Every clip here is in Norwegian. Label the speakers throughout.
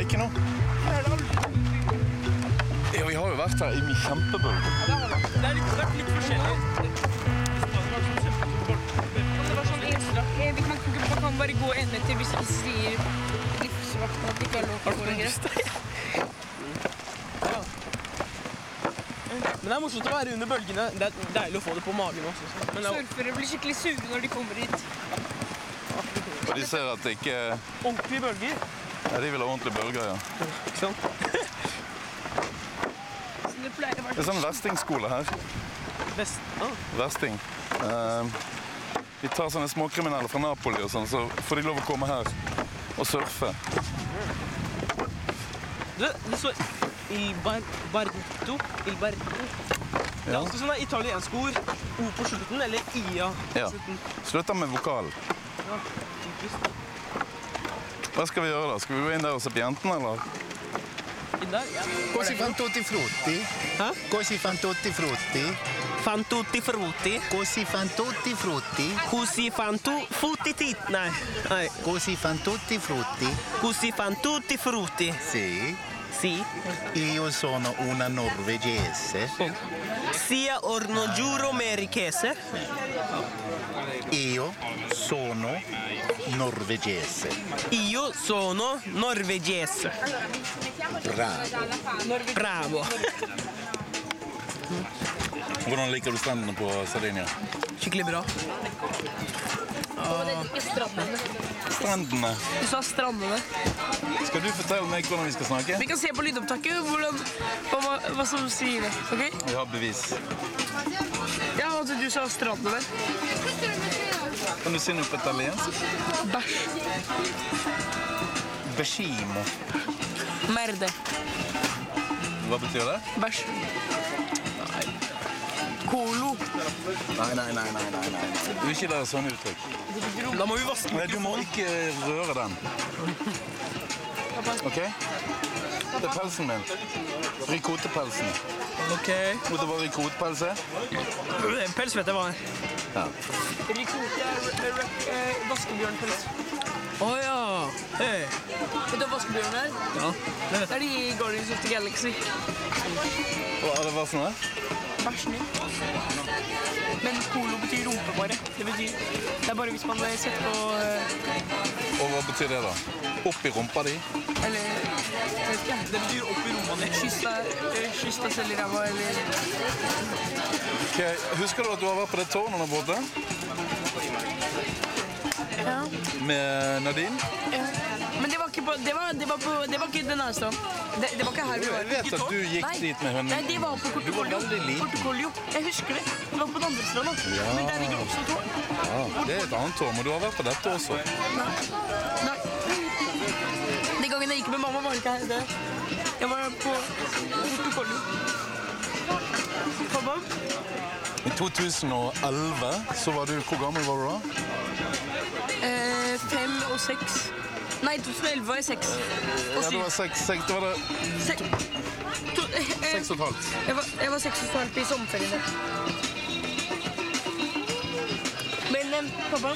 Speaker 1: ikke nå. Ja, vi har jo vært her i min kjempebølge.
Speaker 2: Det er litt, det er litt forskjellig.
Speaker 3: Det var sånn eh, Vi kan ikke man kan bare gå enda til hvis vi sier livsvakten at det ikke er lov til å gå lenger.
Speaker 2: Men det er morsomt å være under bølgene. Det er deilig å få det på magen også. så. Men det er
Speaker 3: Surfere blir skikkelig suge når de kommer hit.
Speaker 1: Og de ser at det ikke Ja,
Speaker 2: ordentlige bølger.
Speaker 1: de vil ha ordentlige bølger, ja.
Speaker 2: Ikke sant?
Speaker 3: Så det pleier å
Speaker 1: Det
Speaker 3: være
Speaker 1: er sånn verstingskole her.
Speaker 2: Vest. Ah.
Speaker 1: Versting. Eh, de tar sånne småkriminelle fra Napoli og sånn, så får de lov å komme her og surfe.
Speaker 2: Du, det står Il bar Barretto. Il Barretto. Det er
Speaker 1: Ja.
Speaker 2: altså sånne italienske ord. O på slutten, eller IA på
Speaker 1: Ja.
Speaker 2: slutten.
Speaker 1: Slutter med vokalen.
Speaker 2: Ja, typisk.
Speaker 1: Hva skal vi gjøre da? Skal vi gå inn der og se på jentene, eller?
Speaker 2: Inn der, ja.
Speaker 4: Così fan tutti i frutti?
Speaker 2: Eh?
Speaker 4: Così fan tutti i frutti?
Speaker 2: Fantutti frutti.
Speaker 4: Così fan tutti i frutti?
Speaker 2: Così fantu futti tit. Nei. Nei.
Speaker 4: Così fan tutti i frutti?
Speaker 2: Così fantutti frutti.
Speaker 4: Sì.
Speaker 2: Si.
Speaker 4: Io sono una norvegese.
Speaker 2: Sia orno giuro merichese.
Speaker 4: Io sono norvegese.
Speaker 2: Io sono norvegese.
Speaker 4: Bravo.
Speaker 2: Bravo.
Speaker 1: Hvordan liker du strendene på Sardinia?
Speaker 2: Skikkelig bra.
Speaker 1: Strendene.
Speaker 3: Du sa strandene.
Speaker 1: Skal du fortelle meg hvordan vi skal snakke?
Speaker 3: Vi kan se på lydopptaket hvordan, hva, hva- hva som sier det. ok?
Speaker 1: Vi har bevis.
Speaker 3: Ja, og at du sa strandene.
Speaker 1: Kan du si noe på italiensk?
Speaker 3: Bæsj.
Speaker 1: Beshimo.
Speaker 3: Merde.
Speaker 1: Hva betyr det?
Speaker 3: Bæsj. Kolo.
Speaker 1: Nei, nei, nei, nei, nei, nei. Du vil ikke lære sånne uttrykk.
Speaker 2: Da må vi vaske
Speaker 1: Nei, du må ikke røre den. OK? Det er pelsen min. Rikotepelsen.
Speaker 2: Ok. Eh,
Speaker 1: Mot det var rikotepelse.
Speaker 2: Pels vet jeg hva er.
Speaker 1: Ja.
Speaker 2: Rikote er
Speaker 3: eh,
Speaker 2: vaskebjørnpels. Å ja. Hey.
Speaker 3: Vet du hva vaskebjørnen er?
Speaker 2: Ja, det vet
Speaker 3: Det er de i Guardians of the Galaxy.
Speaker 1: Hva er det var for noe?
Speaker 3: Bæsjen din. Men kolo betyr rumpe, bare. Det betyr Det er bare hvis man setter på eh,
Speaker 1: Og hva betyr det, da? Opp i rumpa di?
Speaker 3: Eller jeg vet ikke.
Speaker 2: Det betyr opp i rommet ditt.
Speaker 3: Kyss deg, eh, kyss deg selv i ræva, eller
Speaker 1: Ok, Husker du at du har vært på det tårnet der borte?
Speaker 3: Ja.
Speaker 1: Med Nadine?
Speaker 3: Men det var ikke på Det var, det var, på, det var ikke den her stranden. Det, det var ikke her vi
Speaker 1: Jo,
Speaker 3: var.
Speaker 1: jeg vet at du gikk
Speaker 3: Nei.
Speaker 1: dit med henne.
Speaker 3: Nei, det var på
Speaker 1: Du var
Speaker 3: Kortekolio.
Speaker 1: veldig liten.
Speaker 3: Kortekolio. Jeg husker det. Det var på den andre stranda. Men der ligger det også et tårn.
Speaker 1: Ja, det er et annet tårn, men du har vært på dette også.
Speaker 3: Nei. Den gangen jeg gikk med mamma, var det ikke her. Det. Jeg var på Kortekolio. Kebab.
Speaker 1: I 2011 så var du Hvor gammel var du da?
Speaker 3: Eh, fem og seks. Nei, 2011 var jeg seks. Og
Speaker 1: Ja, du
Speaker 3: syv.
Speaker 1: var seks, seks, det var det,
Speaker 3: Se, to, eh,
Speaker 1: seks og et halvt.
Speaker 3: jeg, var, jeg var seks og et halvt i sommerferien. Men eh, pappa,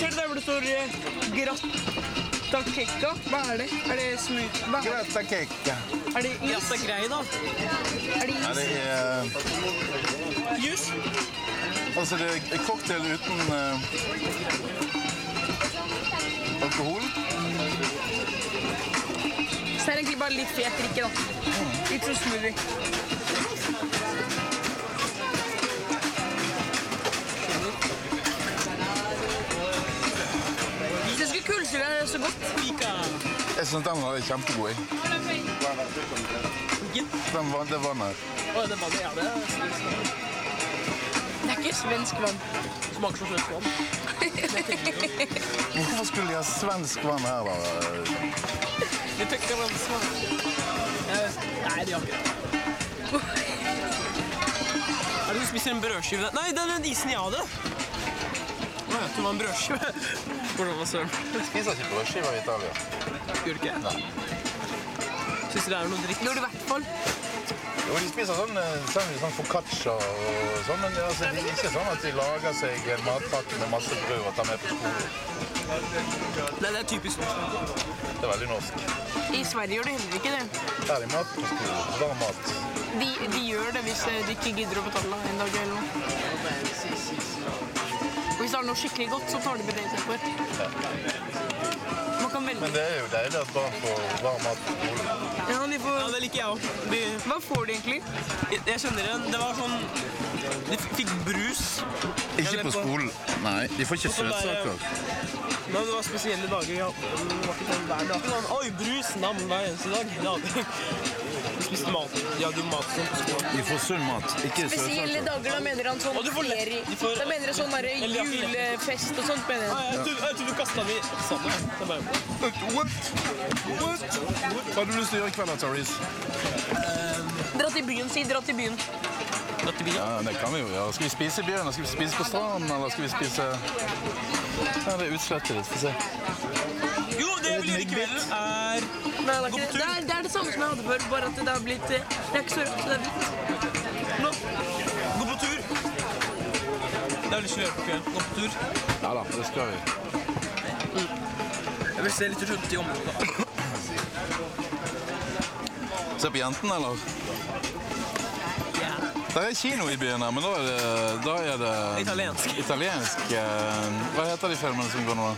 Speaker 3: ser du der hvor det står eh, grattakekka? Hva er det? Er det smooth? Hva er det?
Speaker 4: Grazie checca.
Speaker 3: Er det is?
Speaker 2: Jassa grei, da.
Speaker 3: Er det
Speaker 1: Nei,
Speaker 3: is?
Speaker 1: det er eh,
Speaker 2: Jus.
Speaker 1: Altså, det er cocktail uten eh, alkohol.
Speaker 3: Så er det egentlig bare litt fet drikke, da. Litt sånn smoothie. Hvis jeg skulle kullsyre er det så godt.
Speaker 2: Pika.
Speaker 1: Jeg syns den var kjempegod. jeg. Den var, det vannet.
Speaker 2: Å, det vannet, ja, det
Speaker 3: Det er ikke svensk vann.
Speaker 2: smaker som søtt vann.
Speaker 1: Hvorfor skulle de ha svensk vann her, da?
Speaker 2: Vi tenker på smak. Eh, Nei, det gjør ikke det. Er det du spiser en brødskive? der? Nei, det er den isen jeg hadde. Å, jeg tror det var en brødskive. Hvordan var søren?
Speaker 1: Spiser ikke brødskiver i Italia.
Speaker 2: Gjør du ikke? Syns du det er noe dritt?
Speaker 3: Gjør det i hvert fall.
Speaker 5: Jo, de spiser sånn, eh, sånn, sånn focaccia og sånn, men altså, det er ikke sånn at de lager seg en matpakke med masse brød og tar med på skolen.
Speaker 2: Nei, det er typisk norsk.
Speaker 5: Det er veldig norsk.
Speaker 3: I Sverige gjør de heller ikke det.
Speaker 5: Der er det mat på skolen. Varm mat.
Speaker 3: De, de gjør det hvis eh, de ikke gidder å betale en dag eller noe. Og hvis det er noe skikkelig godt, så tar de med det istedenfor. Man kan velge.
Speaker 5: Men det er jo deilig at barn får varm mat på skolen.
Speaker 3: Ja, de
Speaker 2: Ja,
Speaker 3: får...
Speaker 2: det liker jeg òg. De-
Speaker 3: Hva får de egentlig?
Speaker 2: Jeg, jeg kjenner det. Det var sånn De f- fikk brus.
Speaker 6: Ikke på skolen. Nei, de får ikke
Speaker 2: Hvorfor bare-
Speaker 6: søtsaker.
Speaker 2: Nei, det var spesielle dager. Ja. Det var ikke sånn hver dag. Sånn, Oi, brus! Nam hver eneste dag. Det hadde vi. Vi spiste mat. De hadde jo mat sånn på skolen.
Speaker 6: De får sunn mat, ikke
Speaker 3: Spesielle
Speaker 6: søtsaker.
Speaker 3: dager, da mener han sånn
Speaker 2: Og du får le-
Speaker 3: ferie.
Speaker 2: du får-
Speaker 3: Da mener han sånn der
Speaker 2: Eller ja, fire.
Speaker 3: julefest og sånt, mener
Speaker 2: Nei,
Speaker 3: han.
Speaker 2: Jeg tror- jeg tror du kasta de sammen. Det er bare-
Speaker 5: Hva har du lyst til å gjøre i kveld, Taris?
Speaker 3: Dra til byen, si. Dra til byen.
Speaker 2: Dette blir-
Speaker 5: Ja, det kan vi jo gjøre. Skal vi spise i byen? eller Skal vi spise på stranden? Eller skal vi spise Ja, det er utslettet litt. Få se.
Speaker 2: Jo, det jeg vil gjøre i kveld, er
Speaker 3: Nei, det, er
Speaker 2: Gå
Speaker 3: ikke det.
Speaker 2: på
Speaker 3: Det, er, det er det samme som jeg hadde før, bare at det har blitt eh, Det er ikke så rødt, så det er hvitt.
Speaker 2: Nå, gå på tur. Det har jeg lyst til å gjøre på kvelden. Gå på tur.
Speaker 5: Ja da, det skal vi.
Speaker 2: Jeg vil se litt rundt i området.
Speaker 1: Se på jentene, eller? Det er kino i byen her, men da er det, da er det
Speaker 2: Italiensk.
Speaker 1: italiensk, eh, Hva heter de filmene som går nå?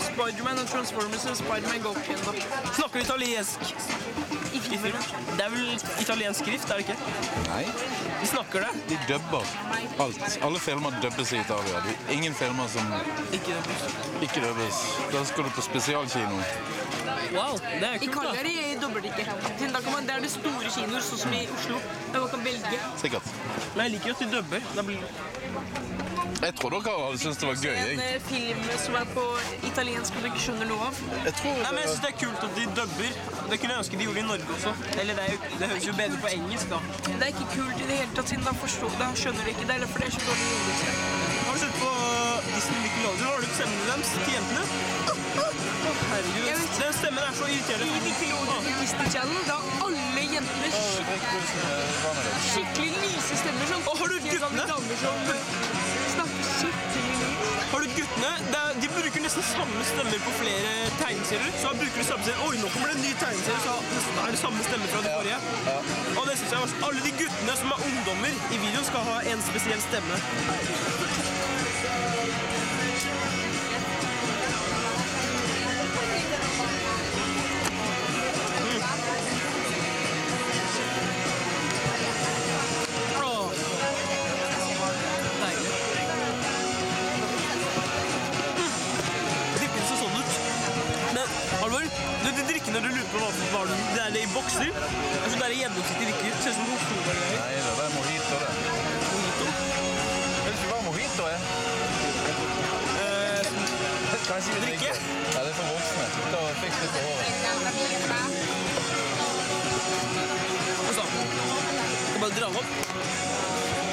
Speaker 3: Spiderman og Transformers og Spiderman Go Kendo.
Speaker 2: Snakker du italiensk i filmen? Det er vel italiensk skrift, er det ikke?
Speaker 1: Nei,
Speaker 2: Vi snakker det.
Speaker 1: de dubber alt. Alle filmer dubbes i Italia. Det er ingen filmer som
Speaker 2: Ikke
Speaker 1: ikke dubbes. Da skal du på spesialkino.
Speaker 2: Wow, det er
Speaker 3: I
Speaker 2: kult, da.
Speaker 3: Cagliari dobler de ikke. Siden da kan man, det er det store kinoer, sånn som i Oslo, der man kan velge.
Speaker 1: Sikkert.
Speaker 2: Men jeg liker jo at de dubber. Da blir
Speaker 1: Jeg tror dere hadde syntes det var gøy.
Speaker 3: En
Speaker 1: Jeg.
Speaker 3: eh, film som er på italiensk og du ikke skjønner noe av.
Speaker 2: Nei, men jeg synes det er kult at de dubber. Det kunne jeg ønske de gjorde i Norge også. Eller det, er jo, det høres jo bedre på engelsk, da.
Speaker 3: Det er ikke kult i det hele tatt, siden da forstår da skjønner du ikke det. Eller for det er så dårlig gjort.
Speaker 2: Har du sett på uh, Disney Little London? Har du ikke stemmen deres til jentene? Å, herregud. Den stemmen er så irriterende.
Speaker 3: Disney Channel, da alle jenter skikkelig lyse stemmer sånn.
Speaker 2: Å, har du
Speaker 3: Helt sånne
Speaker 2: guttene?
Speaker 3: damer som eh, snakker skikkelig lyst.
Speaker 2: Har du guttene? Det er, de bruker nesten samme stemmer på flere tegneserier. Så da bruker de samme stemmer. Oi, nå kommer det en ny tegneserie, så nesten er det samme stemme fra det forrige. Og det synes jeg var Alle de guttene som er ungdommer i videoen, skal ha en spesiell stemme. Åh. Deilig. Drikkene så sånn ut. Men alvor, du, de drikkene du lurer på hva for var det Det er det i bokser. Altså, det er gjennomsiktige drikker. Ser ut som Oslo-greier.
Speaker 5: Nei da, det er mojito, det. Vet du ikke hva mojito eh. er?
Speaker 1: Eh,
Speaker 5: Kan jeg si det
Speaker 2: drikke?
Speaker 5: Ja, det er for voksne. Ta og Fiks litt på håret.
Speaker 2: Altså, skal bare dra den opp.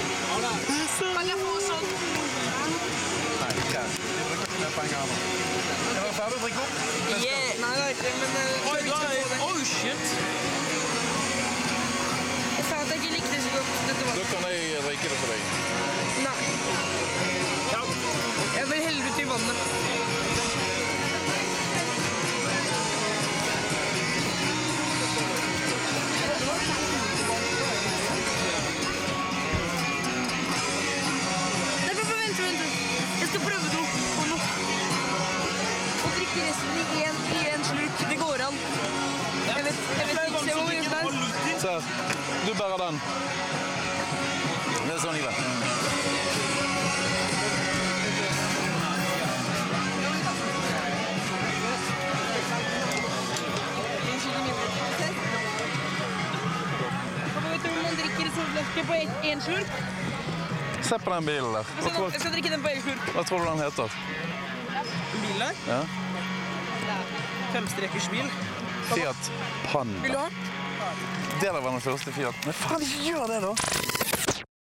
Speaker 3: Kan jeg få sånn?
Speaker 5: Nei, ikke. Vi bruker ikke mer penger nå. Er dere ferdig å drikke opp?
Speaker 3: Yeah. Nei, det er ikke, men eh,
Speaker 2: Oi,
Speaker 3: vi
Speaker 2: da
Speaker 3: skal
Speaker 2: er
Speaker 3: få det.
Speaker 2: Oh, shit!
Speaker 3: Jeg sa at jeg ikke likte det så godt. Dette var
Speaker 1: Da kan jeg drikke det for deg.
Speaker 3: Nei. Jeg vil helle det ut i vannet.
Speaker 7: Nei, vent, vent, vent. Jeg skal prøve noe. Og nå. Og drikke resten i en, i en slurk. Det går an. Jeg vet, jeg vet ikke se hvor mye det er.
Speaker 1: Se her. Du bærer den.
Speaker 5: Det er sånn, Ivar.
Speaker 3: Og vet du hvor man drikker solfleske på en- en slurk?
Speaker 1: Se på den bilen der.
Speaker 3: Jeg
Speaker 1: Hva
Speaker 3: skal,
Speaker 1: tror,
Speaker 3: jeg skal drikke den på en slurk.
Speaker 1: hva tror du den heter?
Speaker 2: Bil der.
Speaker 1: Ja.
Speaker 2: Femstrekers bil.
Speaker 1: Fiat Panda.
Speaker 3: Vil du ha?
Speaker 1: det der var den første Fiat. Men faen, ikke gjør det, da!